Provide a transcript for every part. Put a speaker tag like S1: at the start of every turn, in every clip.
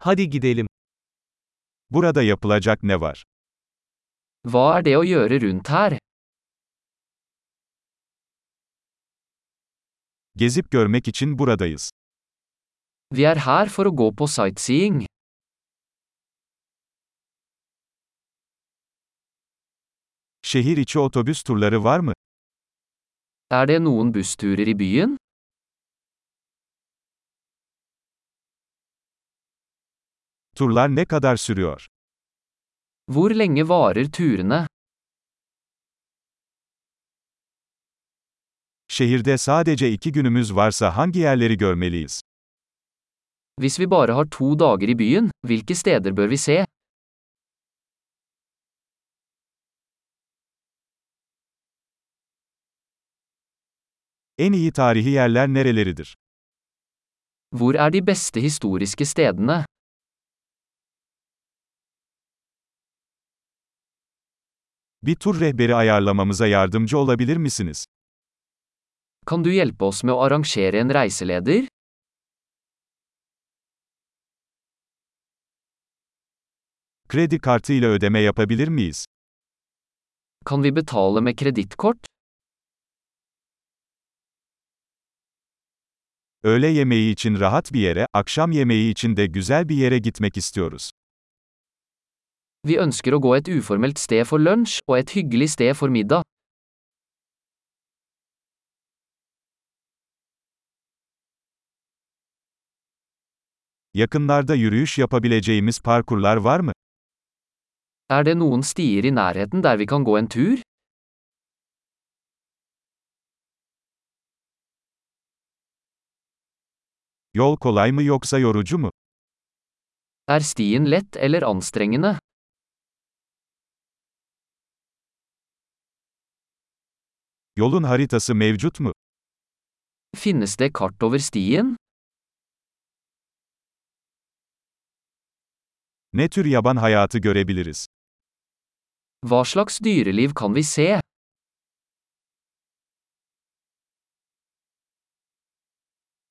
S1: Hadi gidelim.
S2: Burada yapılacak ne var?
S3: Hva er det å gjøre rundt her?
S2: Gezip görmek için buradayız.
S3: Vi er her for å gå på sightseeing.
S2: Şehir içi otobüs turları var mı?
S3: Er det noen bussturer i byen?
S2: Turlar ne kadar sürüyor?
S3: Hvor lenge varer turene?
S2: Şehirde sadece iki günümüz varsa hangi yerleri görmeliyiz?
S3: Hvis vi bare har to dager i byen, hvilke steder bør vi se?
S2: En iyi tarihi yerler nereleridir?
S3: Hvor er de beste historiske stedene?
S2: Bir tur rehberi ayarlamamıza yardımcı olabilir misiniz?
S3: Kan du hjelpe oss med å arrangere en reiseleder?
S2: Kredi kartı ile ödeme yapabilir miyiz?
S3: Kan vi betale med kredittkort?
S2: Öğle yemeği için rahat bir yere, akşam yemeği için de güzel bir yere gitmek istiyoruz.
S3: Vi ønsker å gå et uformelt sted for lunsj og et hyggelig sted for middag.
S2: Yakınlarda yürüyüş yapabileceğimiz parkurlar var mı?
S3: Er det noen stier i nærheten der vi kan gå en tur?
S2: Yol kolay mı yoksa yorucu mu?
S3: Er stien lett eller anstrengende?
S2: Yolun haritası mevcut mu?
S3: Finnes det kart over stien?
S2: Ne tür yaban hayatı görebiliriz?
S3: Hva slags dyreliv kan vi se?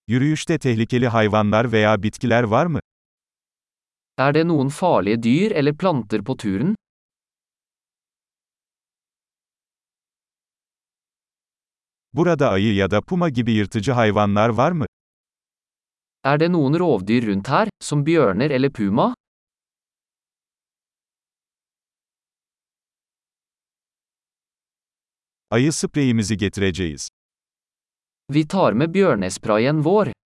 S2: Yürüyüşte tehlikeli hayvanlar veya bitkiler var mı?
S3: Er det noen farlige dyr eller planter på turen?
S2: Burada ayı ya da puma gibi yırtıcı hayvanlar var mı?
S3: Er det noen rovdyr rundt her, som bjørner eller puma?
S2: Ayı spreyimizi getireceğiz.
S3: Vi tar med bjørnesprayen vår.